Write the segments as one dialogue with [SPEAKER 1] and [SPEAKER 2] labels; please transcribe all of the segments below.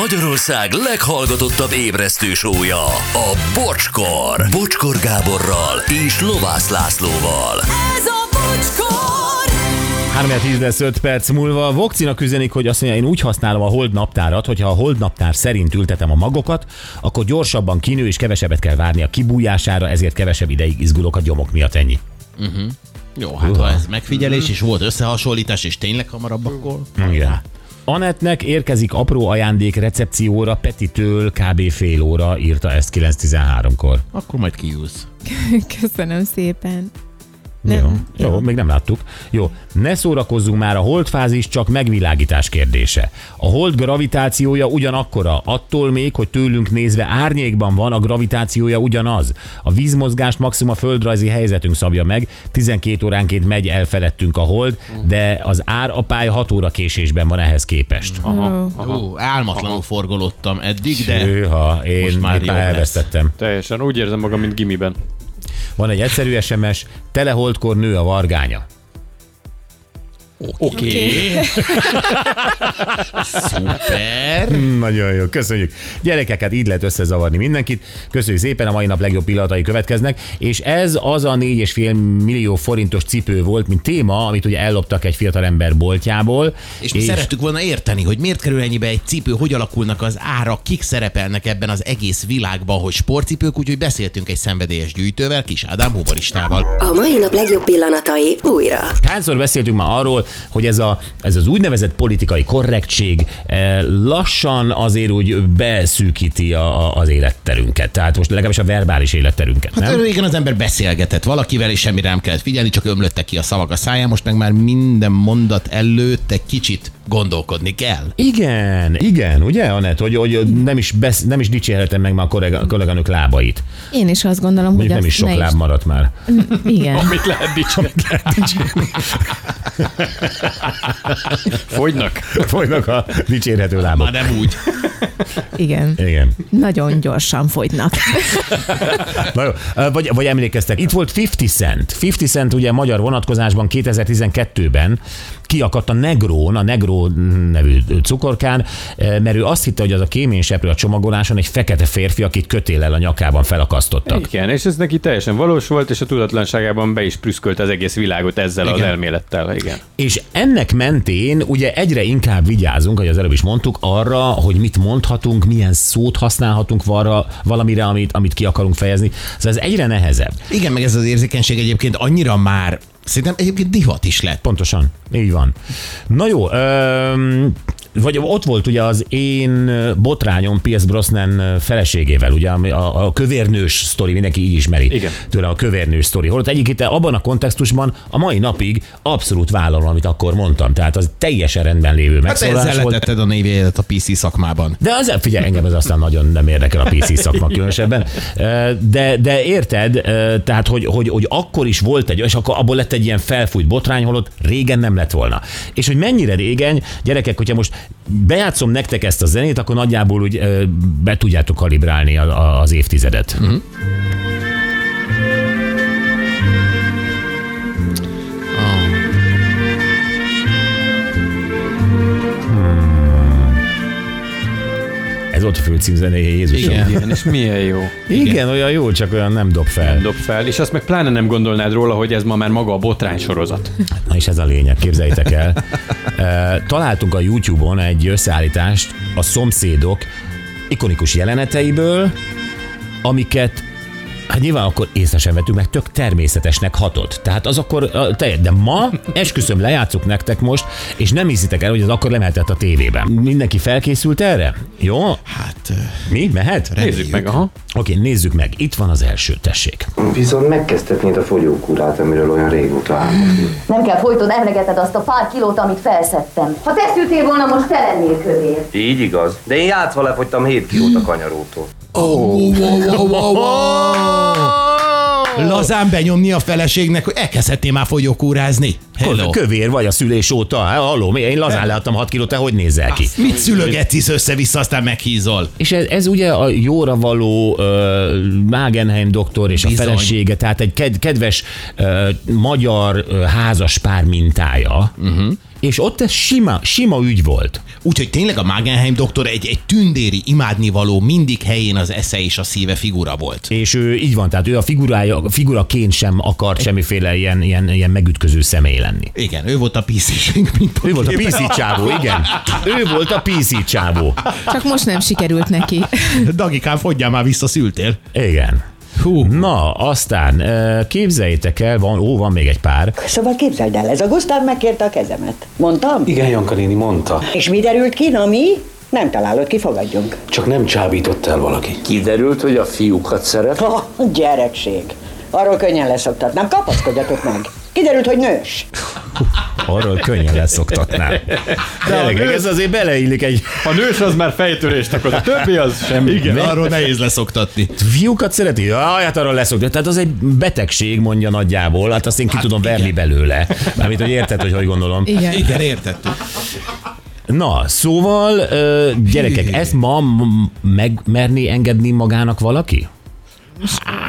[SPEAKER 1] Magyarország leghallgatottabb ébresztő sója, a Bocskor. Bocskor Gáborral és Lovász Lászlóval.
[SPEAKER 2] Ez a bocskor!
[SPEAKER 3] 3 10 lesz 5 perc múlva. Vokcina üzenik, hogy azt mondja, én úgy használom a holdnaptárat, hogyha a holdnaptár szerint ültetem a magokat, akkor gyorsabban kinő és kevesebbet kell várni a kibújására, ezért kevesebb ideig izgulok a gyomok miatt ennyi.
[SPEAKER 4] Jó, hát ha ez megfigyelés, és volt összehasonlítás, és tényleg hamarabb akkor...
[SPEAKER 3] Igen. Anetnek érkezik apró ajándék recepcióra Petitől kb. fél óra, írta ezt 9.13-kor.
[SPEAKER 4] Akkor majd kiúsz.
[SPEAKER 5] Köszönöm szépen.
[SPEAKER 3] Jó. Jó, még nem láttuk. Jó, ne szórakozzunk már, a holdfázis csak megvilágítás kérdése. A hold gravitációja ugyanakkora, attól még, hogy tőlünk nézve árnyékban van, a gravitációja ugyanaz. A vízmozgást maximum a földrajzi helyzetünk szabja meg, 12 óránként megy el felettünk a hold, de az árapály 6 óra késésben van ehhez képest.
[SPEAKER 5] Aha.
[SPEAKER 4] Ó, álmatlanul forgolottam eddig, de...
[SPEAKER 3] Hűha, én
[SPEAKER 4] Most már
[SPEAKER 3] már, már
[SPEAKER 4] jobb lesz.
[SPEAKER 3] elvesztettem.
[SPEAKER 6] Teljesen úgy érzem magam, mint gimiben.
[SPEAKER 3] Van egy egyszerű SMS, teleholdkor nő a vargánya.
[SPEAKER 4] Oké. Szuper.
[SPEAKER 3] Nagyon jó, köszönjük. Gyerekeket így lehet összezavarni mindenkit. Köszönjük szépen, a mai nap legjobb pillanatai következnek. És ez az a 4,5 millió forintos cipő volt, mint téma, amit ugye elloptak egy fiatal ember boltjából.
[SPEAKER 4] És mi szerettük volna érteni, hogy miért kerül ennyibe egy cipő, hogy alakulnak az árak, kik szerepelnek ebben az egész világban, hogy sportcipők, úgyhogy beszéltünk egy szenvedélyes gyűjtővel, kis Ádám humoristával.
[SPEAKER 7] A mai nap legjobb pillanatai újra.
[SPEAKER 3] Hányszor beszéltünk már arról, hogy ez, a, ez az úgynevezett politikai korrektség eh, lassan azért úgy beszűkíti a, a, az életterünket. Tehát most legalábbis a verbális életterünket,
[SPEAKER 4] Hát
[SPEAKER 3] nem?
[SPEAKER 4] régen az ember beszélgetett valakivel, és semmire nem kellett figyelni, csak ömlöttek ki a szavak a száján, most meg már minden mondat előtt egy kicsit gondolkodni kell.
[SPEAKER 3] Igen, igen, ugye, Anett, hogy, hogy nem, is besz, nem is dicsérhetem meg már a kollega, kolléganők lábait.
[SPEAKER 5] Én is azt gondolom,
[SPEAKER 3] Mondjuk
[SPEAKER 5] hogy
[SPEAKER 3] nem
[SPEAKER 5] azt
[SPEAKER 3] is sok
[SPEAKER 5] ne
[SPEAKER 3] láb maradt már.
[SPEAKER 5] Igen.
[SPEAKER 6] Mit lehet dicsérni? Fogynak.
[SPEAKER 3] Folynak a dicsérhető lábak.
[SPEAKER 4] Már nem úgy.
[SPEAKER 5] Igen.
[SPEAKER 3] Igen.
[SPEAKER 5] Nagyon gyorsan fogynak.
[SPEAKER 3] Na jó. Vagy, vagy emlékeztek, itt volt 50 Cent. 50 Cent ugye magyar vonatkozásban 2012-ben kiakadt a Negrón, a Negró nevű cukorkán, mert ő azt hitte, hogy az a kéményseprő a csomagoláson egy fekete férfi, akit kötéllel a nyakában felakasztottak.
[SPEAKER 6] Igen, és ez neki teljesen valós volt, és a tudatlanságában be is prüszkölt az egész világot ezzel az
[SPEAKER 4] Igen.
[SPEAKER 6] elmélettel. Igen.
[SPEAKER 3] És ennek mentén ugye egyre inkább vigyázunk, ahogy az előbb is mondtuk, arra, hogy mit mondhatunk, milyen szót használhatunk arra, valamire, amit, amit ki akarunk fejezni. Szóval ez egyre nehezebb.
[SPEAKER 4] Igen, meg ez az érzékenység egyébként annyira már, szerintem egyébként divat is lett.
[SPEAKER 3] Pontosan, így van. Na jó, öm, vagy ott volt ugye az én botrányom P.S. Brosnan feleségével, ugye ami a, a kövérnős sztori, mindenki így ismeri
[SPEAKER 6] Igen.
[SPEAKER 3] tőle a kövérnős sztori. Holott egyik itt abban a kontextusban a mai napig abszolút vállalom, amit akkor mondtam. Tehát az teljesen rendben lévő
[SPEAKER 4] Hát
[SPEAKER 3] megszólás
[SPEAKER 4] ezzel
[SPEAKER 3] volt.
[SPEAKER 4] letetted a névjegyedet a PC szakmában.
[SPEAKER 3] De az, figyelj, engem ez aztán nagyon nem érdekel a PC szakma különösebben. Ö, De, de érted, ö, tehát, hogy, hogy, hogy akkor is volt egy, és akkor abból lett egy ilyen felfújt botrány, holott régen nem lett volna. És hogy mennyire régen, gyerekek, hogyha most bejátszom nektek ezt a zenét, akkor nagyjából úgy ö, be tudjátok kalibrálni a- a- az évtizedet. Uh-huh. Ez volt a főcímzenéje, Jézusom.
[SPEAKER 4] Igen.
[SPEAKER 6] Igen, és milyen jó.
[SPEAKER 3] Igen, Igen, olyan jó, csak olyan nem dob fel.
[SPEAKER 6] Dob fel, és azt meg pláne nem gondolnád róla, hogy ez ma már maga a botrány sorozat.
[SPEAKER 3] Na és ez a lényeg, képzeljétek el. E, Találtunk a YouTube-on egy összeállítást a szomszédok ikonikus jeleneteiből, amiket Hát nyilván akkor észre sem vettük, meg tök természetesnek hatott. Tehát az akkor ö, te, de ma esküszöm lejátszuk nektek most, és nem hiszitek el, hogy az akkor lemehetett a tévében. Mindenki felkészült erre? Jó?
[SPEAKER 4] Hát,
[SPEAKER 3] Mi? Mehet?
[SPEAKER 6] Nézzük meg, aha.
[SPEAKER 3] Oké, nézzük meg. Itt van az első, tessék.
[SPEAKER 8] Viszont megkezdhetnéd a fogyókúrát, amiről olyan régóta álmodunk.
[SPEAKER 9] Nem kell folyton emlegeted azt a pár kilót, amit felszedtem. Ha te szültél volna, most te lennél kövér.
[SPEAKER 8] Így igaz, de én játszva lefogytam 7 kilót a kanyarótól.
[SPEAKER 4] lazán benyomni a feleségnek, hogy elkezdhetné már fogyókúrázni. Hello.
[SPEAKER 3] Kövér vagy a szülés óta. Há, Halló, mi- én lazán leadtam 6 kilót, te hogy nézel ki?
[SPEAKER 4] Mit szülögetsz össze-vissza, aztán meghízol?
[SPEAKER 3] És ez, ez ugye a jóra való uh, Magenheim doktor és a
[SPEAKER 4] Bizony.
[SPEAKER 3] felesége, tehát egy ked- kedves uh, magyar uh, házas pár mintája. Uh-huh. és ott ez sima, sima ügy volt.
[SPEAKER 4] Úgyhogy tényleg a Magenheim doktor egy, egy tündéri, imádnivaló, mindig helyén az esze és a szíve figura volt.
[SPEAKER 3] És ő így van, tehát ő a figurája, a figuraként sem akart semmiféle ilyen, ilyen, ilyen megütköző személy lenni.
[SPEAKER 4] Igen, ő volt a piszisünk, mint
[SPEAKER 3] Ő volt a PC csávó, igen. Ő volt a PC csávó.
[SPEAKER 5] Csak most nem sikerült neki.
[SPEAKER 4] Dagikám, fogyjál már vissza, szültél.
[SPEAKER 3] Igen. Hú. Na, aztán ö, képzeljétek el, van, ó, van még egy pár.
[SPEAKER 10] Szóval képzeld el, ez a Gusztáv megkérte a kezemet. Mondtam?
[SPEAKER 8] Igen, Janka néni mondta,
[SPEAKER 10] És mi derült ki, na mi? Nem találod, ki fogadjunk.
[SPEAKER 8] csak nem csábított el valaki.
[SPEAKER 11] Kiderült, hogy a fiúkat szeret.
[SPEAKER 10] Ha, gyerekség. Arról könnyen leszoktatnám, kapaszkodjatok meg. Kiderült, hogy nős.
[SPEAKER 3] Arról könnyen leszoktatnám. Tényleg, ez azért beleillik egy...
[SPEAKER 6] A nős az már fejtörést okoz, a többi az semmi.
[SPEAKER 4] Igen, arról nehéz leszoktatni.
[SPEAKER 3] Fiúkat szereti? Jaj, hát arról leszoktatni. Tehát az egy betegség, mondja nagyjából. Hát azt én ki hát tudom verni belőle. Mármint, hogy érted, hogy hogy gondolom.
[SPEAKER 5] Igen.
[SPEAKER 4] Igen, értettük.
[SPEAKER 3] Na, szóval, ö, gyerekek, ezt ma m- megmerni engedni magának valaki?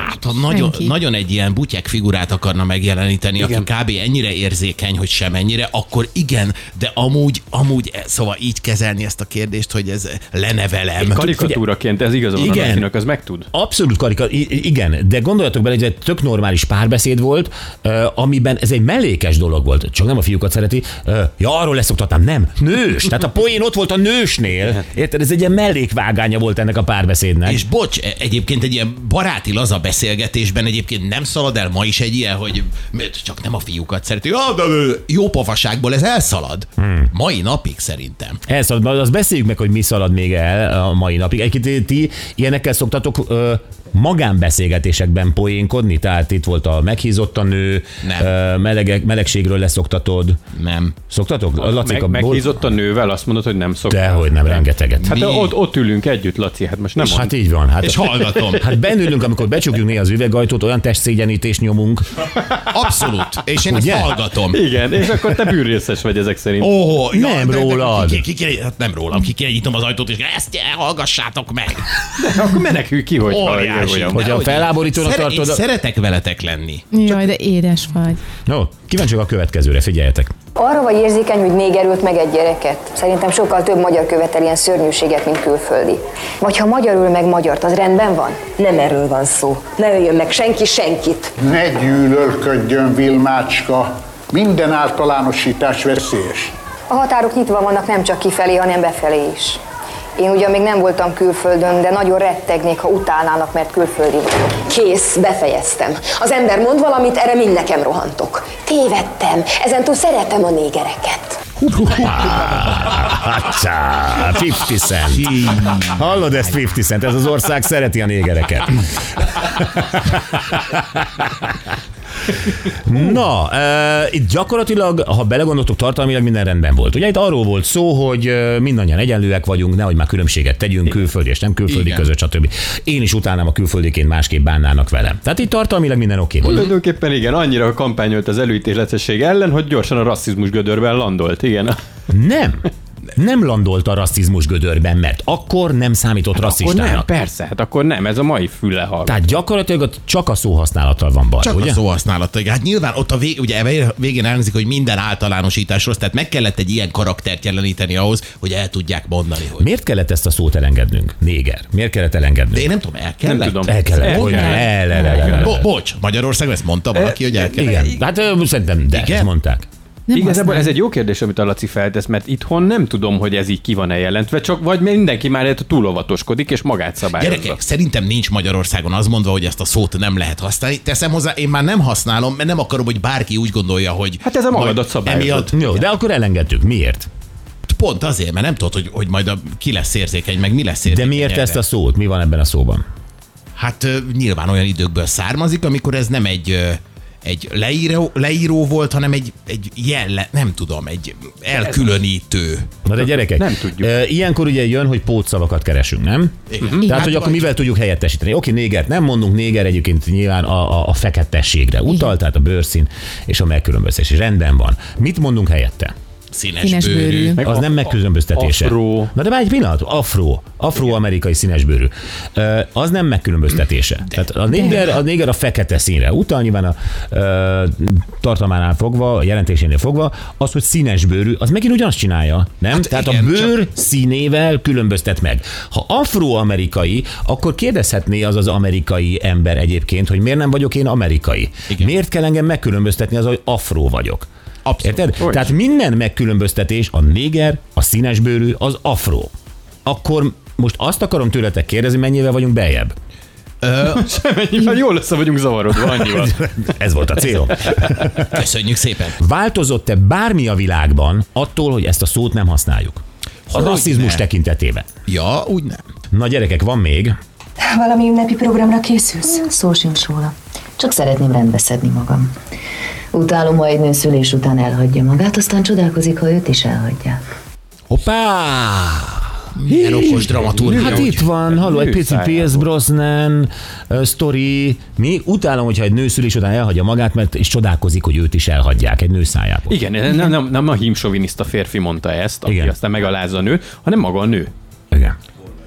[SPEAKER 4] Hát, ha nagyon,
[SPEAKER 5] Senki.
[SPEAKER 4] nagyon egy ilyen butyek figurát akarna megjeleníteni, igen. aki kb. ennyire érzékeny, hogy semennyire, akkor igen, de amúgy, amúgy, eh, szóval így kezelni ezt a kérdést, hogy ez lenevelem.
[SPEAKER 6] Karikatúraként ez igazad van a
[SPEAKER 3] Igen.
[SPEAKER 6] Lacinak, az megtud.
[SPEAKER 3] Abszolút karika, i- i- igen, de gondoljatok bele, hogy ez egy tök normális párbeszéd volt, ö, amiben ez egy mellékes dolog volt, csak nem a fiúkat szereti. Ö, Ja, arról leszoktatnám, nem, nős. Tehát a poén ott volt a nősnél. Érted, ez egy ilyen mellékvágánya volt ennek a párbeszédnek.
[SPEAKER 4] És bocs, e- egyébként egy ilyen baráti laza beszélgetésben egyébként nem szalad el ma is egy ilyen, hogy mit, csak nem a fiúkat szereti. Ja, de ő- Jó pofaságból ez elszalad. Hmm. Mai napig szerintem.
[SPEAKER 3] Ez, az, azt beszéljük meg, hogy mi szalad még el a mai napig. Egyébként ti ilyenekkel szoktatok ö, magánbeszélgetésekben poénkodni, tehát itt volt a meghízott a nő,
[SPEAKER 4] Nem.
[SPEAKER 3] Ö, melegek, melegségről leszoktatod.
[SPEAKER 4] Nem.
[SPEAKER 3] Szoktatok? A
[SPEAKER 6] Meg,
[SPEAKER 3] Lacika,
[SPEAKER 6] meghízott a nővel, azt mondod, hogy nem szokta.
[SPEAKER 3] Dehogy nem, rengeteget.
[SPEAKER 6] Hát
[SPEAKER 4] Mi?
[SPEAKER 6] de ott, ott ülünk együtt, Laci, hát most nem
[SPEAKER 3] És
[SPEAKER 6] mond.
[SPEAKER 3] hát így van. Hát,
[SPEAKER 4] És hallgatom.
[SPEAKER 3] Hát bennülünk, amikor becsukjuk néha az üvegajtót, olyan testszégyenítést nyomunk.
[SPEAKER 4] Abszolút. És én
[SPEAKER 3] Ugye?
[SPEAKER 4] ezt hallgatom.
[SPEAKER 6] Igen, és akkor te bűnrészes vagy ezek szerint.
[SPEAKER 4] Ó, oh,
[SPEAKER 3] Nem rólad.
[SPEAKER 4] Ki, ki, ki, hát nem rólam, ki, ki, nyitom az ajtót, és ezt hallgassátok meg.
[SPEAKER 6] Akkor menekülj ki, hogy
[SPEAKER 4] Óriási.
[SPEAKER 6] olyan.
[SPEAKER 3] Hogyha
[SPEAKER 4] Dehogy.
[SPEAKER 3] felháborítónak
[SPEAKER 4] Szere-
[SPEAKER 3] tartod
[SPEAKER 4] Én
[SPEAKER 3] a-
[SPEAKER 4] szeretek veletek lenni.
[SPEAKER 5] Jaj, de édes vagy.
[SPEAKER 3] No, kíváncsiak a következőre, figyeljetek.
[SPEAKER 9] Arra vagy érzékeny, hogy néger ölt meg egy gyereket? Szerintem sokkal több magyar követel ilyen szörnyűséget, mint külföldi. Vagy ha magyar ül meg magyart, az rendben van?
[SPEAKER 2] Nem erről van szó. Ne öljön meg senki senkit.
[SPEAKER 10] Ne gyűlölködjön, Vilmácska. Minden általánosítás veszélyes.
[SPEAKER 9] A határok nyitva vannak nem csak kifelé, hanem befelé is. Én ugyan még nem voltam külföldön, de nagyon rettegnék, ha utálnának, mert külföldi vagyok.
[SPEAKER 2] Kész, befejeztem. Az ember mond valamit, erre mind nekem rohantok. Tévedtem. Ezentúl szeretem a négereket.
[SPEAKER 3] Hacsá, 50 cent. Hallod ezt 50 cent? Ez az ország szereti a négereket. Na, e, itt gyakorlatilag, ha belegondoltok, tartalmilag minden rendben volt. Ugye itt arról volt szó, hogy e, mindannyian egyenlőek vagyunk, nehogy már különbséget tegyünk külföldi és nem külföldi
[SPEAKER 4] Igen.
[SPEAKER 3] között, stb. Én is utálnám a külföldiként másképp bánnának velem. Tehát itt tartalmilag minden oké volt.
[SPEAKER 6] Tulajdonképpen igen, annyira kampányolt az előítéletesség ellen, hogy gyorsan a rasszizmus gödörben landolt, igen.
[SPEAKER 3] Nem. Nem landolt a rasszizmus gödörben, mert akkor nem számított rasszistának.
[SPEAKER 6] persze, hát akkor nem, ez a mai fülle hal.
[SPEAKER 3] Tehát gyakorlatilag ott csak a szóhasználattal van baj,
[SPEAKER 4] Csak
[SPEAKER 3] ugye?
[SPEAKER 4] a szóhasználata. Hát nyilván ott a vég, ugye elve- végén elhangzik, hogy minden általánosítás rossz, tehát meg kellett egy ilyen karaktert jeleníteni ahhoz, hogy el tudják mondani, hogy...
[SPEAKER 3] Miért kellett ezt a szót elengednünk? Néger. Miért kellett
[SPEAKER 4] De én
[SPEAKER 3] elengednünk?
[SPEAKER 4] nem tudom, el kellett?
[SPEAKER 6] tudom.
[SPEAKER 3] El kellett.
[SPEAKER 6] El
[SPEAKER 3] Hogy
[SPEAKER 6] kellett.
[SPEAKER 3] el, el, el, el, el.
[SPEAKER 4] Bo- bocs, Magyarországon ezt mondta valaki, hogy el kellett?
[SPEAKER 3] Igen. Hát ö, szerintem de,
[SPEAKER 4] Igen?
[SPEAKER 3] ezt mondták.
[SPEAKER 5] Nem
[SPEAKER 6] Igazából
[SPEAKER 5] használ.
[SPEAKER 6] ez egy jó kérdés, amit a Laci feltesz, mert itthon nem tudom, hogy ez így ki van-e jelentve, csak vagy mindenki már ettől túl óvatoskodik, és magát szabályozza.
[SPEAKER 4] Gyerekek, szerintem nincs Magyarországon az mondva, hogy ezt a szót nem lehet használni. Teszem hozzá, én már nem használom, mert nem akarom, hogy bárki úgy gondolja, hogy...
[SPEAKER 6] Hát ez a
[SPEAKER 4] majd
[SPEAKER 6] magadat szabályozod.
[SPEAKER 4] Emiatt
[SPEAKER 3] Jó, de akkor elengedtük. Miért?
[SPEAKER 4] pont azért, mert nem tudod, hogy, hogy majd a, ki lesz érzékeny, meg mi lesz
[SPEAKER 3] De
[SPEAKER 4] érzékeny.
[SPEAKER 3] miért
[SPEAKER 4] erre.
[SPEAKER 3] ezt a szót? Mi van ebben a szóban?
[SPEAKER 4] Hát ö, nyilván olyan időkből származik, amikor ez nem egy ö, egy leíró, leíró volt, hanem egy, egy jelle, nem tudom, egy elkülönítő.
[SPEAKER 5] Mhm.
[SPEAKER 3] Na de gyerekek,
[SPEAKER 6] Nem tudjuk.
[SPEAKER 3] ö, Ilyenkor ugye jön, hogy pótszavakat keresünk, nem?
[SPEAKER 4] Igen.
[SPEAKER 3] Tehát,
[SPEAKER 4] Hát
[SPEAKER 3] hogy akkor
[SPEAKER 4] vagy-
[SPEAKER 3] mivel tudjuk helyettesíteni? Oké, négert nem mondunk, néger egyébként nyilván a, a, a feketességre utal, tehát a bőrszín és a megkülönbözés. Rendben van. Mit mondunk helyette?
[SPEAKER 4] Színes,
[SPEAKER 5] Színes
[SPEAKER 4] bőrű.
[SPEAKER 5] bőrű.
[SPEAKER 4] Meg
[SPEAKER 3] Az nem megkülönböztetése.
[SPEAKER 6] Afro.
[SPEAKER 3] Na de már egy pillanat, afro, afro-amerikai színesbőrű. Ö, Az nem megkülönböztetése. Tehát a néger, a néger a fekete színre utal, nyilván a ö, tartalmánál fogva, a jelentésénél fogva, az, hogy színesbőrű, az megint ugyanazt csinálja, nem?
[SPEAKER 4] Hát
[SPEAKER 3] Tehát
[SPEAKER 4] igen,
[SPEAKER 3] a bőr színével különböztet meg. Ha afroamerikai, akkor kérdezhetné az az amerikai ember egyébként, hogy miért nem vagyok én amerikai?
[SPEAKER 4] Igen.
[SPEAKER 3] Miért kell engem megkülönböztetni az, hogy afro vagyok?
[SPEAKER 4] Abszolút.
[SPEAKER 3] Érted?
[SPEAKER 6] Hogy?
[SPEAKER 3] Tehát minden megkülönböztetés, a néger, a színesbőrű, az afro. Akkor most azt akarom tőletek kérdezni, mennyivel vagyunk beljebb.
[SPEAKER 6] Mennyivel jól össze vagyunk zavarodva, annyival.
[SPEAKER 3] Ez volt a célom.
[SPEAKER 4] Köszönjük szépen.
[SPEAKER 3] Változott-e bármi a világban attól, hogy ezt a szót nem használjuk? A
[SPEAKER 4] Hogyne.
[SPEAKER 3] rasszizmus tekintetében.
[SPEAKER 4] Ja, úgy nem.
[SPEAKER 3] Na gyerekek, van még.
[SPEAKER 12] Valami ünnepi programra készülsz?
[SPEAKER 13] Szó sincs róla. Csak szeretném rendbe szedni magam. Utálom, ha egy nő szülés után elhagyja magát, aztán csodálkozik, ha őt is elhagyják.
[SPEAKER 3] Hoppá!
[SPEAKER 4] Milyen okos dramaturgia.
[SPEAKER 3] Hát
[SPEAKER 4] ugye?
[SPEAKER 3] itt van, halló, egy pici
[SPEAKER 6] Műszájában.
[SPEAKER 3] Pierce Brosnan uh, sztori. Mi utálom, hogyha egy nő szülés után elhagyja magát, mert és csodálkozik, hogy őt is elhagyják egy nő szájából.
[SPEAKER 6] Igen, nem, nem, nem a hímsoviniszta férfi mondta ezt, aki
[SPEAKER 3] Igen.
[SPEAKER 6] aztán megalázza a nő, hanem maga a nő.
[SPEAKER 3] Igen.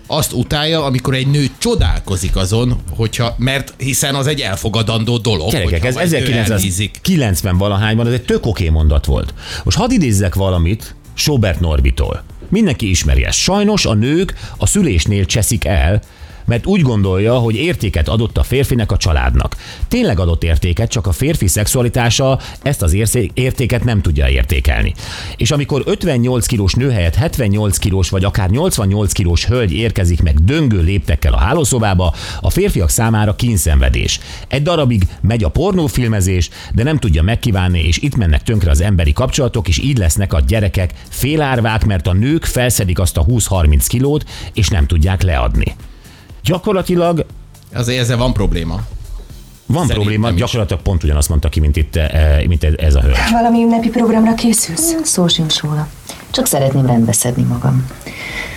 [SPEAKER 4] Azt utálja, amikor egy nő csodálkozik azon, hogyha, mert hiszen az egy elfogadandó dolog.
[SPEAKER 3] Gyerekek,
[SPEAKER 4] hogyha
[SPEAKER 3] ez
[SPEAKER 4] egy nő elhízik.
[SPEAKER 3] 1990 valahányban, ez egy tök oké mondat volt. Most hadd idézzek valamit Sobert Norbitól. Mindenki ismeri ezt. Sajnos a nők a szülésnél cseszik el, mert úgy gondolja, hogy értéket adott a férfinek a családnak. Tényleg adott értéket, csak a férfi szexualitása ezt az érzé- értéket nem tudja értékelni. És amikor 58 kilós nő helyett 78 kilós vagy akár 88 kilós hölgy érkezik meg döngő léptekkel a hálószobába, a férfiak számára kínszenvedés. Egy darabig megy a pornófilmezés, de nem tudja megkívánni, és itt mennek tönkre az emberi kapcsolatok, és így lesznek a gyerekek félárvák, mert a nők felszedik azt a 20-30 kilót, és nem tudják leadni. Gyakorlatilag
[SPEAKER 4] Azért ezzel van probléma.
[SPEAKER 3] van
[SPEAKER 4] Szerintem
[SPEAKER 3] probléma,
[SPEAKER 4] is.
[SPEAKER 3] gyakorlatilag pont ugyanazt mondta ki, mint, itt, eh, mint ez a hölgy.
[SPEAKER 12] Valami ünnepi programra készülsz?
[SPEAKER 13] Szó sincs róla. Csak szeretném rendbe szedni magam.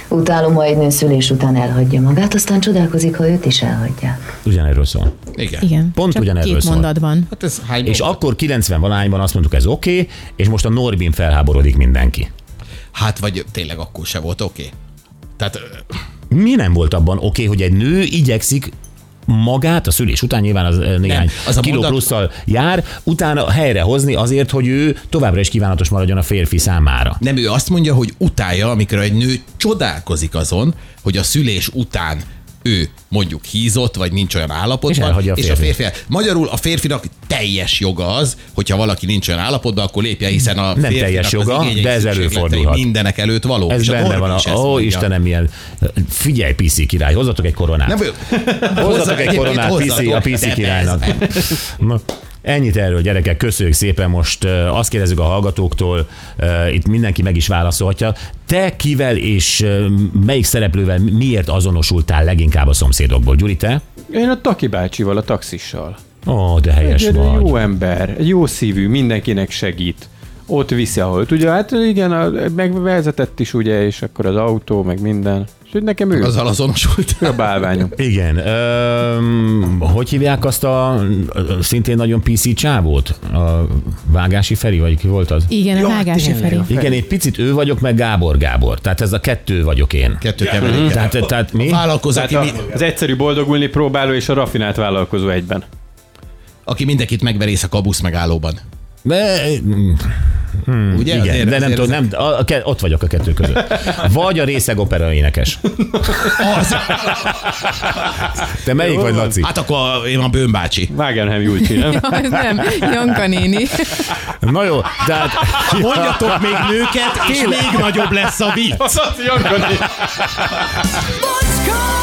[SPEAKER 13] Utálom, ha egy nő szülés után elhagyja magát, aztán csodálkozik, ha őt is elhagyják.
[SPEAKER 3] Ugyanerről szól.
[SPEAKER 4] Igen.
[SPEAKER 5] Igen.
[SPEAKER 3] Pont
[SPEAKER 5] Csak
[SPEAKER 3] ugyanerről
[SPEAKER 5] két
[SPEAKER 3] szól.
[SPEAKER 5] mondatban.
[SPEAKER 4] Hát ez hány
[SPEAKER 3] És
[SPEAKER 4] és a...
[SPEAKER 3] akkor 90 valányban azt mondtuk, ez oké, okay, és most a Norbin felháborodik mindenki.
[SPEAKER 4] Hát vagy tényleg akkor se volt oké. Okay. Tehát ö,
[SPEAKER 3] Mi nem volt abban oké, okay, hogy egy nő igyekszik magát a szülés után nyilván az ö, néhány nem,
[SPEAKER 4] az
[SPEAKER 3] az
[SPEAKER 4] a
[SPEAKER 3] a kiló
[SPEAKER 4] mondat-
[SPEAKER 3] plusszal jár, utána helyrehozni azért, hogy ő továbbra is kívánatos maradjon a férfi számára.
[SPEAKER 4] nem ő azt mondja, hogy utálja, amikor egy nő csodálkozik azon, hogy a szülés után ő mondjuk hízott, vagy nincs olyan állapotban,
[SPEAKER 3] És elhagyja a
[SPEAKER 4] és a
[SPEAKER 3] férfit.
[SPEAKER 4] férfi. Magyarul a férfinak teljes joga az, hogyha valaki nincs olyan állapotban, akkor lépje, hiszen a férfinak
[SPEAKER 3] teljes
[SPEAKER 4] az
[SPEAKER 3] joga,
[SPEAKER 4] igényei,
[SPEAKER 3] de ez
[SPEAKER 4] szükségletei
[SPEAKER 3] előfordulhat.
[SPEAKER 4] Mindenek előtt való.
[SPEAKER 3] Ez
[SPEAKER 4] És
[SPEAKER 3] benne
[SPEAKER 4] Norbi
[SPEAKER 3] van
[SPEAKER 4] is
[SPEAKER 3] a...
[SPEAKER 4] ezt
[SPEAKER 3] Ó,
[SPEAKER 4] mondja.
[SPEAKER 3] Istenem, milyen... Figyelj, piszi király, hozzatok egy koronát.
[SPEAKER 4] Nem, ő-
[SPEAKER 3] Hozzatok egy
[SPEAKER 4] Egyébként
[SPEAKER 3] koronát
[SPEAKER 4] hozzatok,
[SPEAKER 3] piszi, a
[SPEAKER 4] de
[SPEAKER 3] piszi
[SPEAKER 4] persze.
[SPEAKER 3] királynak. Na, Ennyit erről, gyerekek, köszönjük szépen. Most ö, azt kérdezzük a hallgatóktól, ö, itt mindenki meg is válaszolhatja. Te kivel és ö, melyik szereplővel miért azonosultál leginkább a szomszédokból? Gyuri, te?
[SPEAKER 6] Én a Taki bácsival, a taxissal.
[SPEAKER 3] Ó, de helyes
[SPEAKER 6] Egy
[SPEAKER 3] vagy.
[SPEAKER 6] jó ember, egy jó szívű, mindenkinek segít. Ott viszi, ahol tudja. Hát igen, a- megvezetett is ugye, és akkor az autó, meg minden. És hogy nekem ő
[SPEAKER 4] Azzal azonosult.
[SPEAKER 6] a bálványom.
[SPEAKER 3] Igen. Öm, hogy hívják azt a ö, szintén nagyon PC csávót? A Vágási Feri, vagy ki volt az?
[SPEAKER 5] Igen, a vágási felé.
[SPEAKER 3] Igen, egy picit ő vagyok, meg Gábor Gábor. Tehát ez a kettő vagyok én.
[SPEAKER 4] Kettő keveréke.
[SPEAKER 3] Tehát, tehát mi?
[SPEAKER 4] Vállalkozó,
[SPEAKER 6] Tehát
[SPEAKER 4] aki,
[SPEAKER 6] a,
[SPEAKER 4] mi,
[SPEAKER 6] az egyszerű boldogulni próbáló és a rafinált vállalkozó egyben.
[SPEAKER 4] aki mindenkit megverész a kabusz megállóban.
[SPEAKER 3] Ne, mm,
[SPEAKER 4] Ugye?
[SPEAKER 3] Igen, de
[SPEAKER 4] Azért-
[SPEAKER 3] nem
[SPEAKER 4] Hát azért-
[SPEAKER 3] tudom, nem, a, a, ke- ott vagyok a kettő között. Vagy a részeg opera énekes.
[SPEAKER 4] Az,
[SPEAKER 3] Te melyik vagy, Laci?
[SPEAKER 4] hát akkor én a bőmbácsi.
[SPEAKER 6] Wagenheim Júlcsi, nem?
[SPEAKER 5] Ja, nem, Janka néni.
[SPEAKER 3] Na jó, tehát...
[SPEAKER 4] Mondjatok még nőket, és még nagyobb lesz a vicc.
[SPEAKER 6] Laci Jankoni.
[SPEAKER 1] Bocskor!